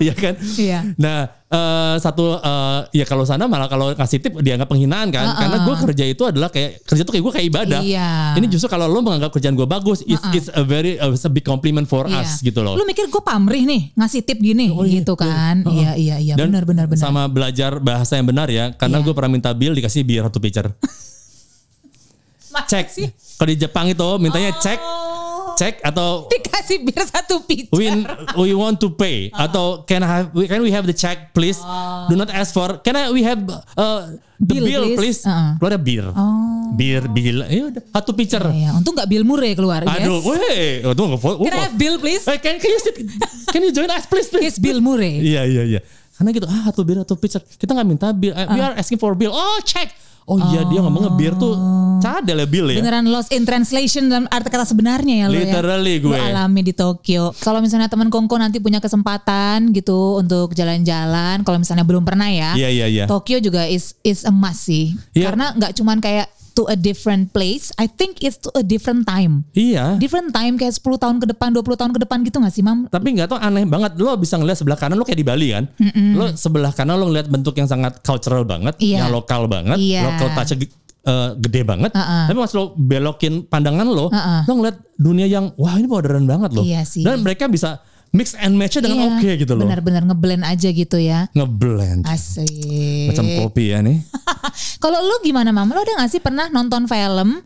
iya kan
Iya.
nah eh, satu eh, ya kalau sana malah kalau ngasih tip dianggap penghinaan kan karena gue kerja itu adalah kayak kerja tuh kayak gue kayak ibadah
Iya.
ini justru kalau lo menganggap kerjaan gue bagus it's, it's a very uh, it's a big compliment for
Iya.
us gitu loh
Lu mikir gue pamrih nih ngasih tip gini gitu kan. Iya iya iya
Dan
benar benar benar.
sama belajar bahasa yang benar ya karena
Iya.
gue pernah minta bill dikasih biar satu picture cek
Masih
kalau di Jepang itu mintanya cek
Oh.
cek atau
Dikasih bir satu pizza.
we we want to pay
Ah.
atau can I have can we have the check please do not ask for can I we have uh, the
Bill,
bill, please,
please. Uh-uh.
keluar bir
Oh.
bir bill ya udah satu picture
Iya, untung gak Bill Murray keluar.
aduh
Yes.
weh aduh nggak fo-
Can I have Bill please?
Eh, can, can you sit, can you join us please please
Yes Bill Murray.
Iya iya iya. karena gitu ah satu bir atau pizza kita nggak minta bir eh,
Ah.
we are asking for bill oh cek oh iya dia ngomong bir tuh
Oh.
cadel ya bill ya
Beneran lost in translation dalam arti kata sebenarnya ya lo ya.
Literally
Lo
gue.
alami di Tokyo. Kalau misalnya teman Kongko nanti punya kesempatan gitu untuk jalan-jalan, kalau misalnya belum pernah ya.
Iya, iya, iya.
Tokyo juga is is a must sih.
Iya.
Karena nggak cuman kayak to a different place, I think it's to a different time.
iya
Different time kayak 10 tahun ke depan, 20 tahun ke depan gitu gak sih, Mam?
tapi nggak tau aneh banget lo bisa ngeliat sebelah kanan lo kayak di Bali kan lo sebelah kanan lo ngeliat bentuk yang sangat cultural banget
Iya.
yang lokal banget
Iya.
lokal touch gede banget
Uh-uh.
tapi pas lo belokin pandangan lo
Uh-uh.
lo ngeliat dunia yang wah ini modern banget lo
Iya sih.
dan mereka bisa mix and match dengan
Iya,
oke gitu loh
Benar-benar ngeblend aja gitu ya.
ngeblend
Asik.
macam kopi ya nih
Kalau lu gimana mam? Lu ada gak sih pernah nonton film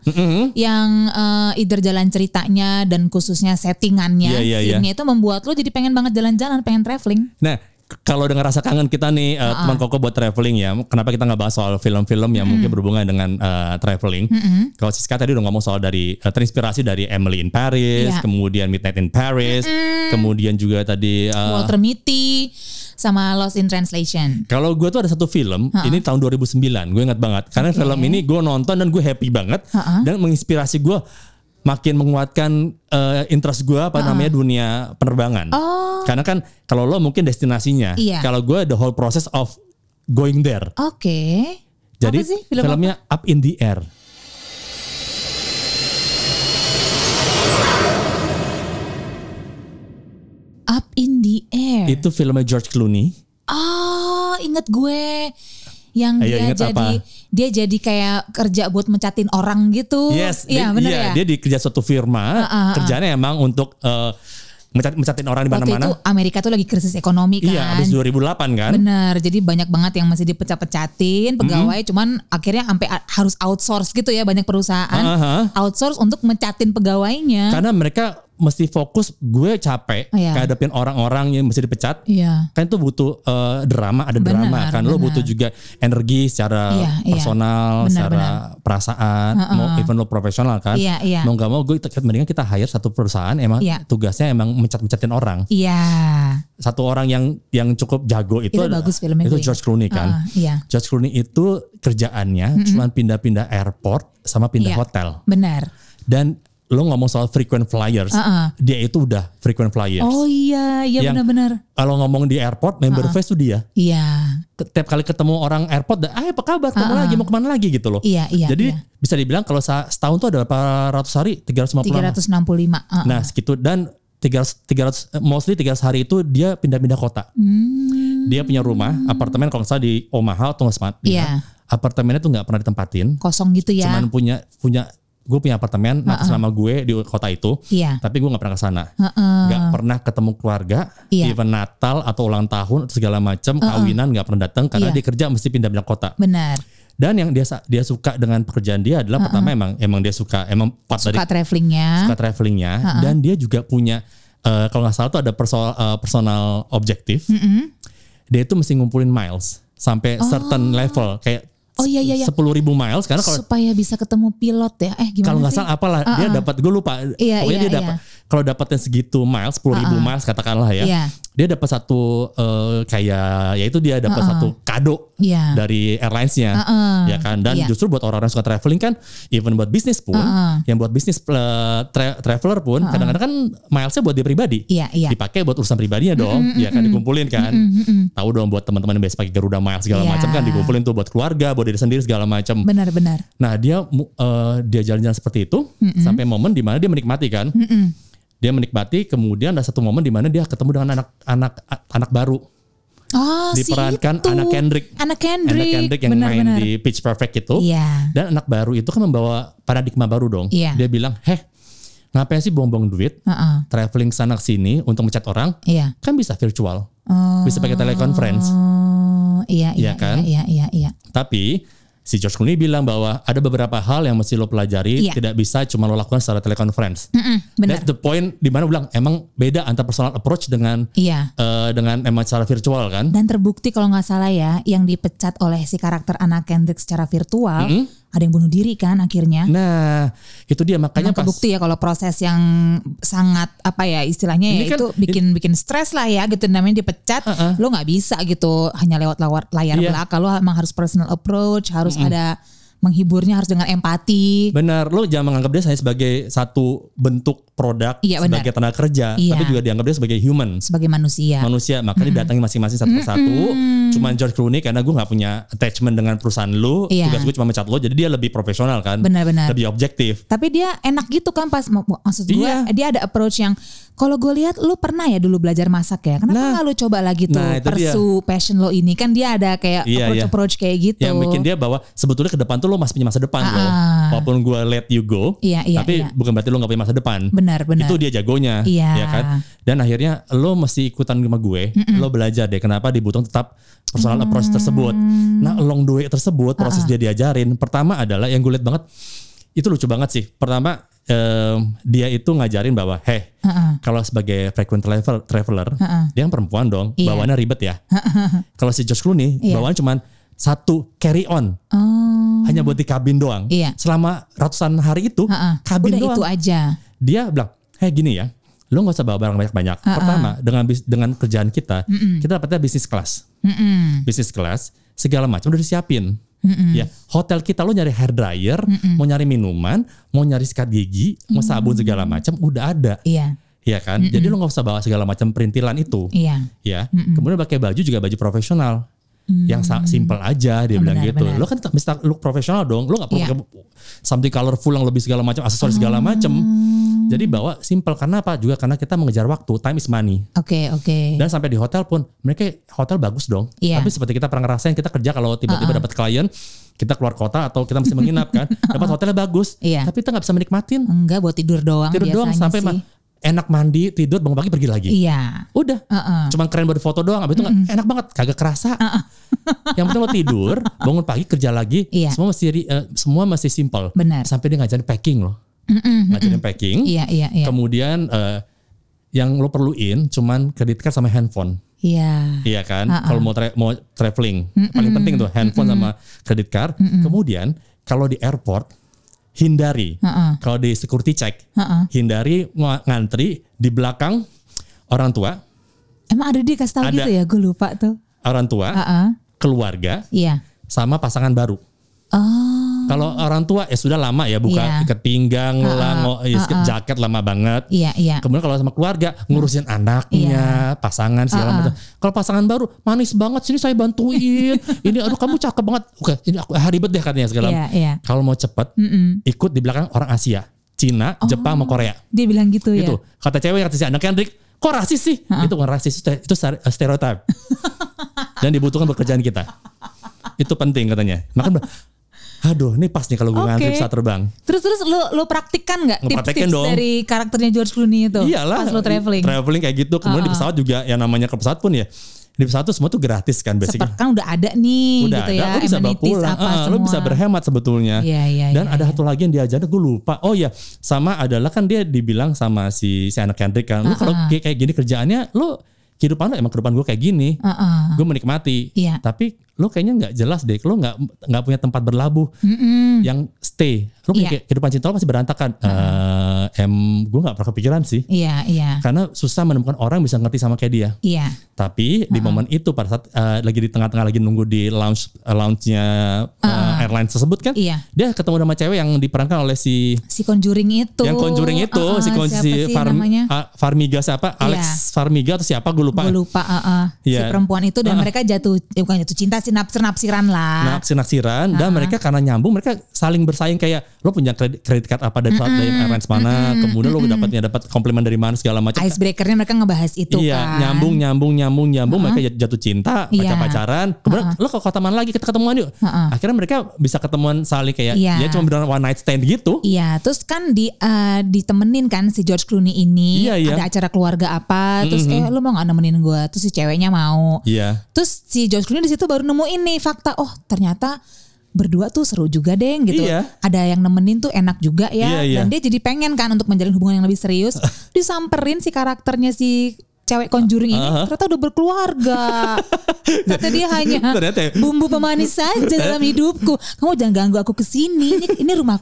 yang eh, either jalan ceritanya dan khususnya settingannya,
Iya, iya,
scene-nya itu membuat lu jadi pengen banget jalan-jalan, pengen traveling?
Nah, k- kalau dengan rasa kangen kita nih eh, teman Koko buat traveling ya. Kenapa kita nggak bahas soal film-film yang mungkin berhubungan dengan eh, traveling? Kalau Siska tadi udah ngomong soal dari eh, terinspirasi dari Emily in Paris,
Iya.
kemudian Midnight in Paris, kemudian juga tadi eh,
Walter Mitty sama Lost in Translation.
kalau gue tuh ada satu film, ini tahun 2009, gue ingat banget. Karena film ini gue nonton dan gue happy banget
Ha-ha.
dan menginspirasi gue makin menguatkan eh, interest gue apa namanya dunia penerbangan.
Oh.
Karena kan kalau lo mungkin destinasinya,
Iya.
kalau gue the whole process of going there.
Oke.
Jadi
Apa sih film
filmnya Up in the Air.
Up in the Air.
Itu filmnya George Clooney.
Oh, inget gue yang
Ayo,
dia
inget Iya,
jadi
apa?
dia jadi kayak kerja buat mencatin orang gitu.
Yes,
iya
dia,
benar
iya,
ya.
dia dikerja suatu firma,
Ha-ha, ha-ha.
kerjanya emang untuk eh, mencat- mencatin orang di
Waktu itu
mana-mana.
Amerika tuh lagi krisis ekonomi kan.
Iya, habis 2008 kan.
Bener, jadi banyak banget yang masih dipecah-pecatin pegawai, cuman akhirnya sampai a- harus outsource gitu ya banyak perusahaan
Aha. Kan?
outsource untuk mencatin pegawainya.
karena mereka mesti fokus gue capek
Iya.
ngadepin orang-orang yang mesti dipecat
Iya,
kan itu butuh eh, drama ada
Benar,
drama kan lo
benar.
butuh juga energi secara
Iya, iya.
personal
Benar,
secara
benar.
perasaan mau even lo profesional kan
Iya, iya.
mau nggak mau gue kita- mendingan kita hire satu perusahaan emang
Iya.
tugasnya emang mencat-mencatin orang
iya,
satu orang yang yang cukup jago itu
Itu
ada-
bagus filmnya
itu
gue.
George Clooney kan
Ah, iya,
George Clooney itu kerjaannya cuman pindah-pindah airport sama pindah
Iya.
hotel
benar.
dan lo ngomong soal frequent flyers
Ah, ah.
dia itu udah frequent flyers
Oh iya, iya
Yang-
benar-benar.
kalau ngomong di airport member face tuh dia
Iya,
Ke- tiap kali ketemu orang airport ah apa kabar ketemu lagi mau kemana lagi gitu loh
iya, iya.
jadi
iya.
bisa dibilang kalau sa- setahun tuh ada berapa ratus hari 350 lama.
365. ah, ah.
nah segitu dan 300, 300 eh, mostly 300 hari itu dia pindah-pindah kota
Hmm,
dia punya rumah apartemen kalau nggak salah di Omaha atau nggak sempat
Iya.
apartemennya tuh nggak pernah ditempatin
kosong gitu ya.
cuman punya punya gue punya apartemen atas nama gue di kota itu
iya.
tapi gue nggak pernah ke sana
Heeh.
nggak pernah ketemu keluarga,
Iya.
even Natal atau ulang tahun atau segala macam kawinan nggak pernah datang karena
Iya.
dia kerja mesti pindah-pindah kota.
Benar.
Dan yang dia dia suka dengan pekerjaan dia adalah pertama emang emang dia suka emang part dari
Suka ya? travelingnya.
suka travelingnya dan dia juga punya eh, kalau nggak salah tuh ada perso- eh, personal objektif. Dia itu mesti ngumpulin miles sampai certain level kayak
Oh, iya, iya, iya.
sepuluh ribu miles karena kalau
supaya bisa ketemu pilot ya. Eh gimana
kalau nggak
sih?
salah apalah dia dapat gue lupa
Iya,
pokoknya
iya,
dia dapat kalau dapatin segitu miles 10.000 ribu miles katakanlah ya
Iya.
dia dapat satu eh, kayak yaitu dia dapat satu kado
Iya.
dari airlinesnya
Heeh.
ya kan dan
Iya.
justru buat orang-orang yang suka traveling kan even buat bisnis pun
Heeh.
yang buat bisnis eh, tra- traveler pun kadang-kadang kan milesnya buat dia pribadi
Iya, iya.
dipakai buat urusan pribadinya dong ya kan dikumpulin kan tahu dong buat teman-teman yang biasa pakai Garuda miles segala
Iya.
macam kan dikumpulin tuh buat keluarga buat diri sendiri segala macam
Benar, benar.
Nah dia mu- eh, dia jalan-jalan seperti itu sampai momen di mana dia menikmati kan,
Mm-mm.
dia menikmati kemudian ada satu momen di mana dia ketemu dengan anak-anak a- anak baru,
Oh,
Diperankan
si itu.
Anna Kendrick.
Anna
anak
Kendrick.
Kendrick yang
Benar,
main
benar.
di Pitch Perfect itu,
Iya.
dan anak baru itu kan membawa paradigma baru dong.
Iya.
Dia bilang, heh ngapain sih buang-buang duit
Heeh.
traveling sana sini untuk mencat orang?
Iya.
Kan bisa virtual,
Oh,
bisa pakai teleconference.
iya,
Iya
iya,
kan?
Iya, iya, iya.
Tapi si George Clooney bilang bahwa ada beberapa hal yang mesti lo pelajari,
Iya.
tidak bisa cuma lo lakukan secara teleconference.
Mm-mm, benar.
That's the point di mana bilang emang beda antara personal approach dengan
Iya.
eh, dengan emang secara virtual kan.
Dan terbukti kalau nggak salah ya, yang dipecat oleh si karakter Anna Kendrick secara virtual ada yang bunuh diri kan akhirnya.
Nah, itu dia makanya
Emang
pas
kebukti ya kalau proses yang sangat apa ya istilahnya
Ini
ya
kan-
itu bikin bikin stres lah ya gitu namanya dipecat
Uh-uh.
lo nggak bisa gitu hanya lewat lawar- layar
Iya.
belakang lo emang harus personal approach harus ada menghiburnya harus dengan empati
benar lo jangan menganggap dia hanya sebagai satu bentuk produk
Iya, benar.
sebagai tenaga kerja,
Iya.
tapi juga dianggap dia sebagai human.
sebagai manusia
manusia makanya didatangi masing-masing satu persatu cuman George Clooney karena gue nggak punya attachment dengan perusahaan lu
Iya.
tugas gue cuma mencat lo jadi dia lebih profesional kan
Benar-benar.
lebih objektif
tapi dia enak gitu kan pas mau- mau- maksud gue
Iya.
dia ada approach yang kalau gue lihat lo pernah ya dulu belajar masak ya kenapa
Nah.
nggak lo coba lagi tuh
Nah, itu dia.
persu passion lo ini kan dia ada kayak
Iya,
approach
iya.
approach kayak gitu
yang bikin dia bahwa sebetulnya ke depan tuh lo masih punya masa depan lo
Ah.
walaupun gue let you go
Iya, iya,
tapi
iya.
bukan berarti lo nggak punya masa depan
benar benar
itu dia jagonya
Nah, Iya.
ya kan dan akhirnya lo mesti ikutan sama gue lo belajar deh kenapa dibutuhkan tetap personal
Mm.
approach tersebut nah along the way tersebut proses dia diajarin pertama adalah yang gue lihat banget itu lucu banget sih pertama em, dia itu ngajarin bahwa heh
Ha-ha.
kalau sebagai frequent travel- traveler dia yang perempuan dong
Iya.
bawaannya ribet ya kalau si Josh Clooney
Iya.
bawaannya cuman satu carry on
Oh.
hanya buat di kabin doang
Iya.
selama ratusan hari itu
Ha-ha.
kabin
udah
doang
itu aja
dia bilang, "Hei gini ya, lo nggak usah bawa barang banyak-banyak. Pertama dengan bis- dengan kerjaan kita, kita dapetnya bisnis kelas,
Mm-mm.
bisnis kelas segala macam udah disiapin. Ya, hotel kita lo nyari hair dryer, mau nyari minuman, mau nyari sikat gigi, mau sabun segala macam udah ada,
Iya,
ya kan? Jadi lo nggak usah bawa segala macam perintilan itu,
iya.
ya. Kemudian pakai baju juga baju profesional." yang sa- simple aja dia bilang
Benar,
gitu.
benar.
Lo kan tetap mesti look profesional dong. Lo gak perlu
Iya. Ah.
pakai something colorful yang lebih segala macam, aksesoris segala macam. Jadi bawa simple karena apa? Juga karena kita mengejar waktu, time is money.
Oke, oke.
Dan sampai di hotel pun mereka hotel bagus dong.
Iya.
Tapi seperti kita pernah ngerasain kita kerja kalau tiba-tiba dapat klien, kita keluar kota atau kita mesti menginap kan, dapat hotelnya bagus,
Iya.
tapi kita nggak bisa menikmatin.
Enggak buat tidur doang
Tidur doang
biasanya
sampai
sih.
ma- enak mandi, tidur bangun pagi pergi lagi.
Iya.
Udah.
Heeh.
Cuman keren buat foto doang, abis itu nggak- enak banget, kagak kerasa. Yang penting lo tidur, bangun pagi kerja lagi,
Iya.
semua masih ri- eh, semua masih simple.
Benar.
Sampai dia ngajarin packing loh, ngajarin packing.
Iya, iya, iya.
Kemudian eh, yang lo perluin cuman kredit card sama handphone.
Iya.
Iya kan? Kalau mau tra- mau traveling, paling penting tuh handphone sama kredit card. Kemudian kalau di airport hindari.
Heeh.
Kalau di security check,
Heeh.
hindari ng- ngantri di belakang orang tua,
Emang ada dia kasih tahu
Ada.
gitu ya? Gue lupa tuh.
orang tua,
Heeh.
keluarga
Iya.
sama pasangan baru.
Oh,
Kalau orang tua ya sudah lama ya buka
Iya. ah.
ikat pinggang lah, ngo- ya, jaket lama banget.
iya, iya.
Kemudian kalau sama keluarga ngurusin anaknya, pasangan
Ah,
segala macam. Kalau pasangan baru manis banget sini saya bantuin. ini aduh kamu cakep banget. Oke, ini aku ah, ribet deh katanya segala.
Iya, iya.
Kalau mau cepet
Mm-mm. Oh.
ikut di belakang orang Asia, Cina, Jepang, sama Korea.
Dia bilang gitu, ya.
Gitu. Kata cewek kata si anaknya Rick, kok rasis sih? Itu bukan rasis, itu itu stere- eh, stereotype. Dan dibutuhkan pekerjaan kita. Itu penting katanya. Makanya aduh ini pas nih kalau gue
Oke.
ngantri pesawat terbang.
Terus terus lo lo praktikkan nggak
Ngepraktekin
tips-tips
dong.
dari karakternya George Clooney itu?
Iyalah.
Pas lo traveling.
Traveling kayak gitu. Kemudian di pesawat juga yang namanya ke pesawat pun ya. Di pesawat tuh semua tuh gratis kan
Seperti
basicnya.
kan udah ada nih
Udah
gitu
ada,
ya.
lo bisa bawa
amenities
pulang.
Apa
Ah,
semua.
lo bisa berhemat sebetulnya.
Iya, iya,
Dan
iya,
ada
iya.
satu lagi yang diajarin gue lupa. Oh iya, sama adalah kan dia dibilang sama si si anak Kendrick kan. Lu
Ah,
kalau kayak kayak gini kerjaannya, lu kehidupan lu emang kehidupan gue kayak gini.
Heeh.
Gue menikmati.
Ah, Iya.
Tapi lu kayaknya nggak jelas deh. Lu nggak nggak punya tempat berlabuh
Mm-mm.
yang stay. Lu kayak
Iya. Ah,
kehidupan cinta lu masih berantakan. Eh, em gue nggak pernah kepikiran sih.
Iya, iya.
Karena susah menemukan orang yang bisa ngerti sama kayak dia.
Iya.
Tapi di momen itu pada saat eh, lagi di tengah-tengah lagi nunggu di lounge lounge-nya
Ah,
eh, airline tersebut kan,
Iya.
dia ketemu sama cewek yang diperankan oleh si
si Conjuring itu
yang Conjuring itu,
Uh-uh,
si, Con-
siapa
si
sih
Farm-
namanya
ah, Farmiga siapa? Alex Farmiga atau siapa? Gue lupa.
gue lupa uh-uh.
Iya.
si perempuan itu dan
Uh-uh.
mereka jatuh eh, bukan jatuh cinta sih nafsir nafsiran lah
naksir-naksiran Nah, dan
Ah.
mereka karena nyambung mereka saling bersaing kayak lo punya kredit, kredit card apa dari, dari airlines mana kemudian lo dapatnya dapat komplimen dari mana segala macam
icebreakernya mereka ngebahas itu
iya,
kan
nyambung, nyambung, nyambung, nyambung. Mereka jat- jatuh cinta,
Iya.
mereka pacaran. Kemudian lo ke kota mana lagi kita ketemuan yuk.
Ha-ha.
Akhirnya mereka bisa ketemuan saling kayak ya
Iya.
cuma beneran one night stand gitu.
Iya, terus kan di eh, ditemenin kan si George Clooney ini
Iya, Mhm. iya.
ada acara keluarga apa, terus eh lu mau nggak nemenin gue, terus si ceweknya mau,
Iya.
terus si George Clooney di situ baru nemuin nih fakta, oh ternyata berdua tuh seru juga deh gitu,
Iya.
ada yang nemenin tuh enak juga
Iya,
ya,
iya.
dan dia jadi pengen kan untuk menjalin hubungan yang lebih serius, disamperin si karakternya si cewek conjuring ini ternyata udah berkeluarga. ternyata dia hanya
Ternyata ya.
bumbu pemanis saja dalam hidupku. Kamu jangan ganggu aku ke sini. Ini, ini rumah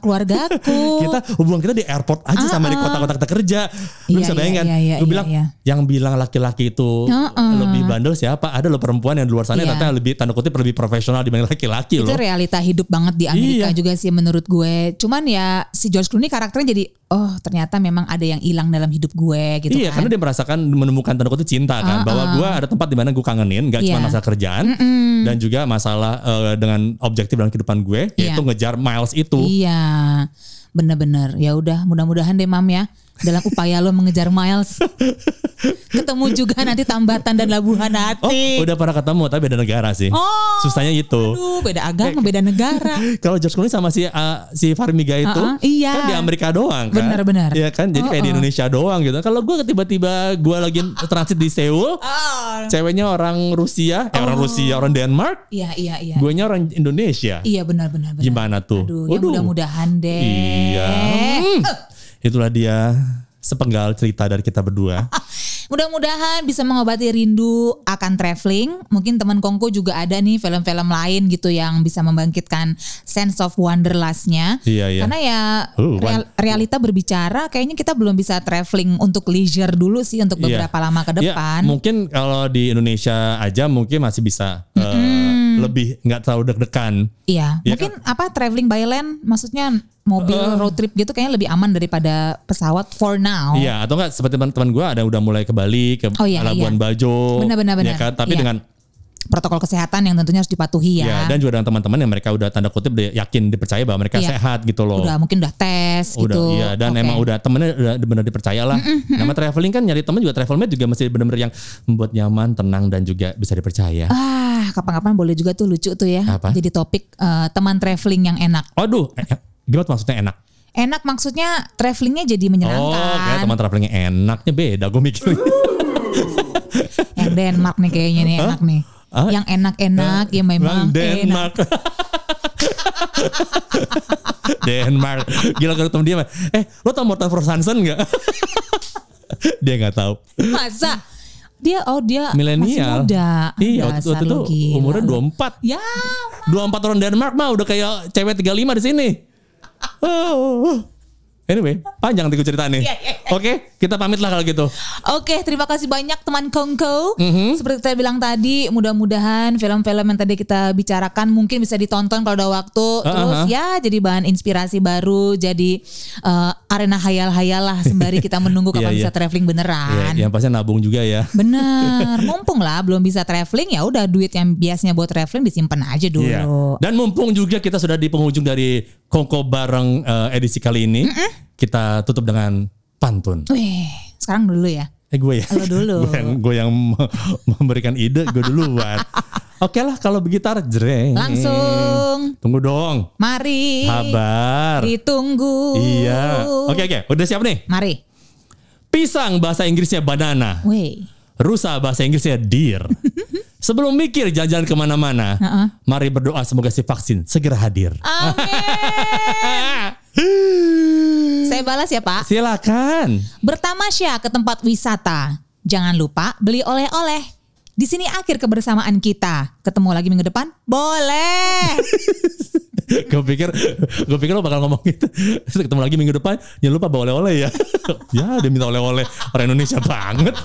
keluargaku.
kita hubungan kita di airport aja sama di
Oh. Ah, ah.
kota-kota kita kerja. Lu
Iya,
bisa
iya,
bayangkan,
iya, iya,
lu
iya,
bilang
iya.
yang bilang laki-laki itu
Heeh.
lebih bandel siapa? Ada lo perempuan yang di luar sana
Iya.
ternyata lebih tanda kutip lebih profesional dibanding laki-laki
itu
loh.
realita hidup banget di Amerika
Iya.
juga sih menurut gue. Cuman ya si George Clooney karakternya jadi oh ternyata memang ada yang hilang dalam hidup gue gitu
iya,
kan.
karena dia merasakan menemukan tanda kutip cinta kan,
Ah,
bahwa
ah.
gua ada tempat di mana gue kangenin, gak cuma
Iya.
masalah kerjaan dan juga masalah eh, dengan objektif dalam kehidupan gue, yaitu
Iya.
ngejar miles itu.
Iya. Bener-bener. Ya udah mudah-mudahan deh Mam ya. Dalam upaya lo mengejar miles. Ketemu juga nanti tambatan dan labuhan
Oh,
hati.
udah pernah ketemu tapi beda negara sih.
Oh.
Susahnya itu.
Aduh beda agama, beda negara.
Kalau George Clooney sama si uh, si Farmiga itu
Uh-uh, iya.
kan di Amerika doang kan.
Benar, benar.
Iya kan? Jadi kayak di
Uh-uh.
Indonesia doang gitu. Kalau gue tiba-tiba gue lagi transit di Seoul,
Ah.
ceweknya orang Rusia, eh,
Oh.
orang Rusia, orang Denmark,
Iya, iya, iya.
guenya orang Indonesia.
Iya benar-benar. benar.
Gimana tuh?
Aduh, Eh. ya
Waduh.
mudah-mudahan deh.
Iya. Hmm. Itulah dia sepenggal cerita dari kita
Ah,
berdua.
Mudah-mudahan bisa mengobati rindu akan traveling. Mungkin teman Kongko juga ada nih film-film lain gitu yang bisa membangkitkan sense of wanderlustnya.
Iya, iya.
Karena ya
Oh,
real- realita berbicara, kayaknya kita belum bisa traveling untuk leisure dulu sih untuk
Iya.
beberapa lama ke
Ya,
depan.
mungkin kalau di Indonesia aja mungkin masih bisa eh, lebih nggak terlalu deg-degan.
Iya,
Iya
mungkin apa traveling by land, maksudnya mobil
Eh.
road trip gitu kayaknya lebih aman daripada pesawat for now.
Iya atau enggak seperti teman-teman gue ada yang udah mulai ke Bali ke
Oh, iya,
Labuan
iya.
Bajo,
Benar, benar,
ya
benar.
kan? Tapi
Iya.
dengan
Protokol kesehatan yang tentunya harus dipatuhi
ya
ya.
dan juga dengan teman-teman yang mereka udah tanda kutip dia- yakin dipercaya bahwa mereka
Iya.
sehat gitu loh.
udah mungkin udah tes
Udah,
gitu.
iya dan
Oke.
emang udah temennya udah benar dipercaya lah. Nama traveling kan nyari temen juga travel mate juga mesti benar-benar yang membuat nyaman, tenang dan juga bisa dipercaya.
Ah, kapan-kapan boleh juga tuh lucu tuh ya.
Apa?
Jadi topik eh, teman traveling yang enak.
Aduh, eh, eh, gimana maksudnya enak?
Enak maksudnya travelingnya jadi
Oh, kayak
menyenangkan.
teman travelingnya enaknya beda. Gue mikir
Uh. yang Denmark nih kayaknya nih enak nih.
Hah?
Yang enak-enak yang
Bang
memang
Denmark.
enak.
Denmark. Gila kalau ketemu dia, eh lo tau Morten Hansen nggak? dia nggak tahu.
Masa dia oh dia
Milenial.
masih muda.
Iya, waktu, waktu
Dasar
itu
lu gila
umurnya
lu.
24.
Ya,
24 orang Denmark mah udah kayak cewek 35 di sini. Oh. Anyway, panjang nanti gue cerita nih.
Iya, iya, iya.
Oke, kita pamit lah kalau gitu.
Oke, terima kasih banyak teman Kongko.
Mhm.
Seperti kita bilang tadi, mudah-mudahan film-film yang tadi kita bicarakan mungkin bisa ditonton kalau ada waktu. Terus
ah.
ya jadi bahan inspirasi baru, jadi eh, arena hayal-hayal lah sembari kita menunggu
Iya,
kapan
iya.
bisa traveling beneran.
Ya, yang pasti nabung juga ya.
Bener, mumpung lah belum bisa traveling ya udah duit yang biasanya buat traveling disimpan aja dulu.
Iya. Dan mumpung juga kita sudah di penghujung dari Kongko bareng eh, edisi kali ini, kita tutup dengan pantun.
Weh, sekarang dulu ya.
Eh gue ya.
Lo dulu.
gue yang gue yang me- memberikan ide, gue duluan. Oke lah kalau begitu jreng.
Langsung,
Tunggu dong.
mari.
Kabar.
Ditunggu.
Iya. Oke oke, udah siap nih.
Mari.
Pisang bahasa Inggrisnya banana,
Weh.
rusa bahasa Inggrisnya deer. Sebelum mikir jalan-jalan kemana-mana,
Heeh. Ah.
mari berdoa semoga si vaksin segera hadir.
Amin. Saya balas ya Pak.
Silakan.
Bertamasya ke tempat wisata. Jangan lupa beli oleh-oleh. Di sini akhir kebersamaan kita. Ketemu lagi minggu depan? Boleh.
gue pikir gue pikir lo bakal ngomong gitu Terus ketemu lagi minggu depan jangan lupa bawa oleh-oleh ya ya dia minta oleh-oleh orang Indonesia banget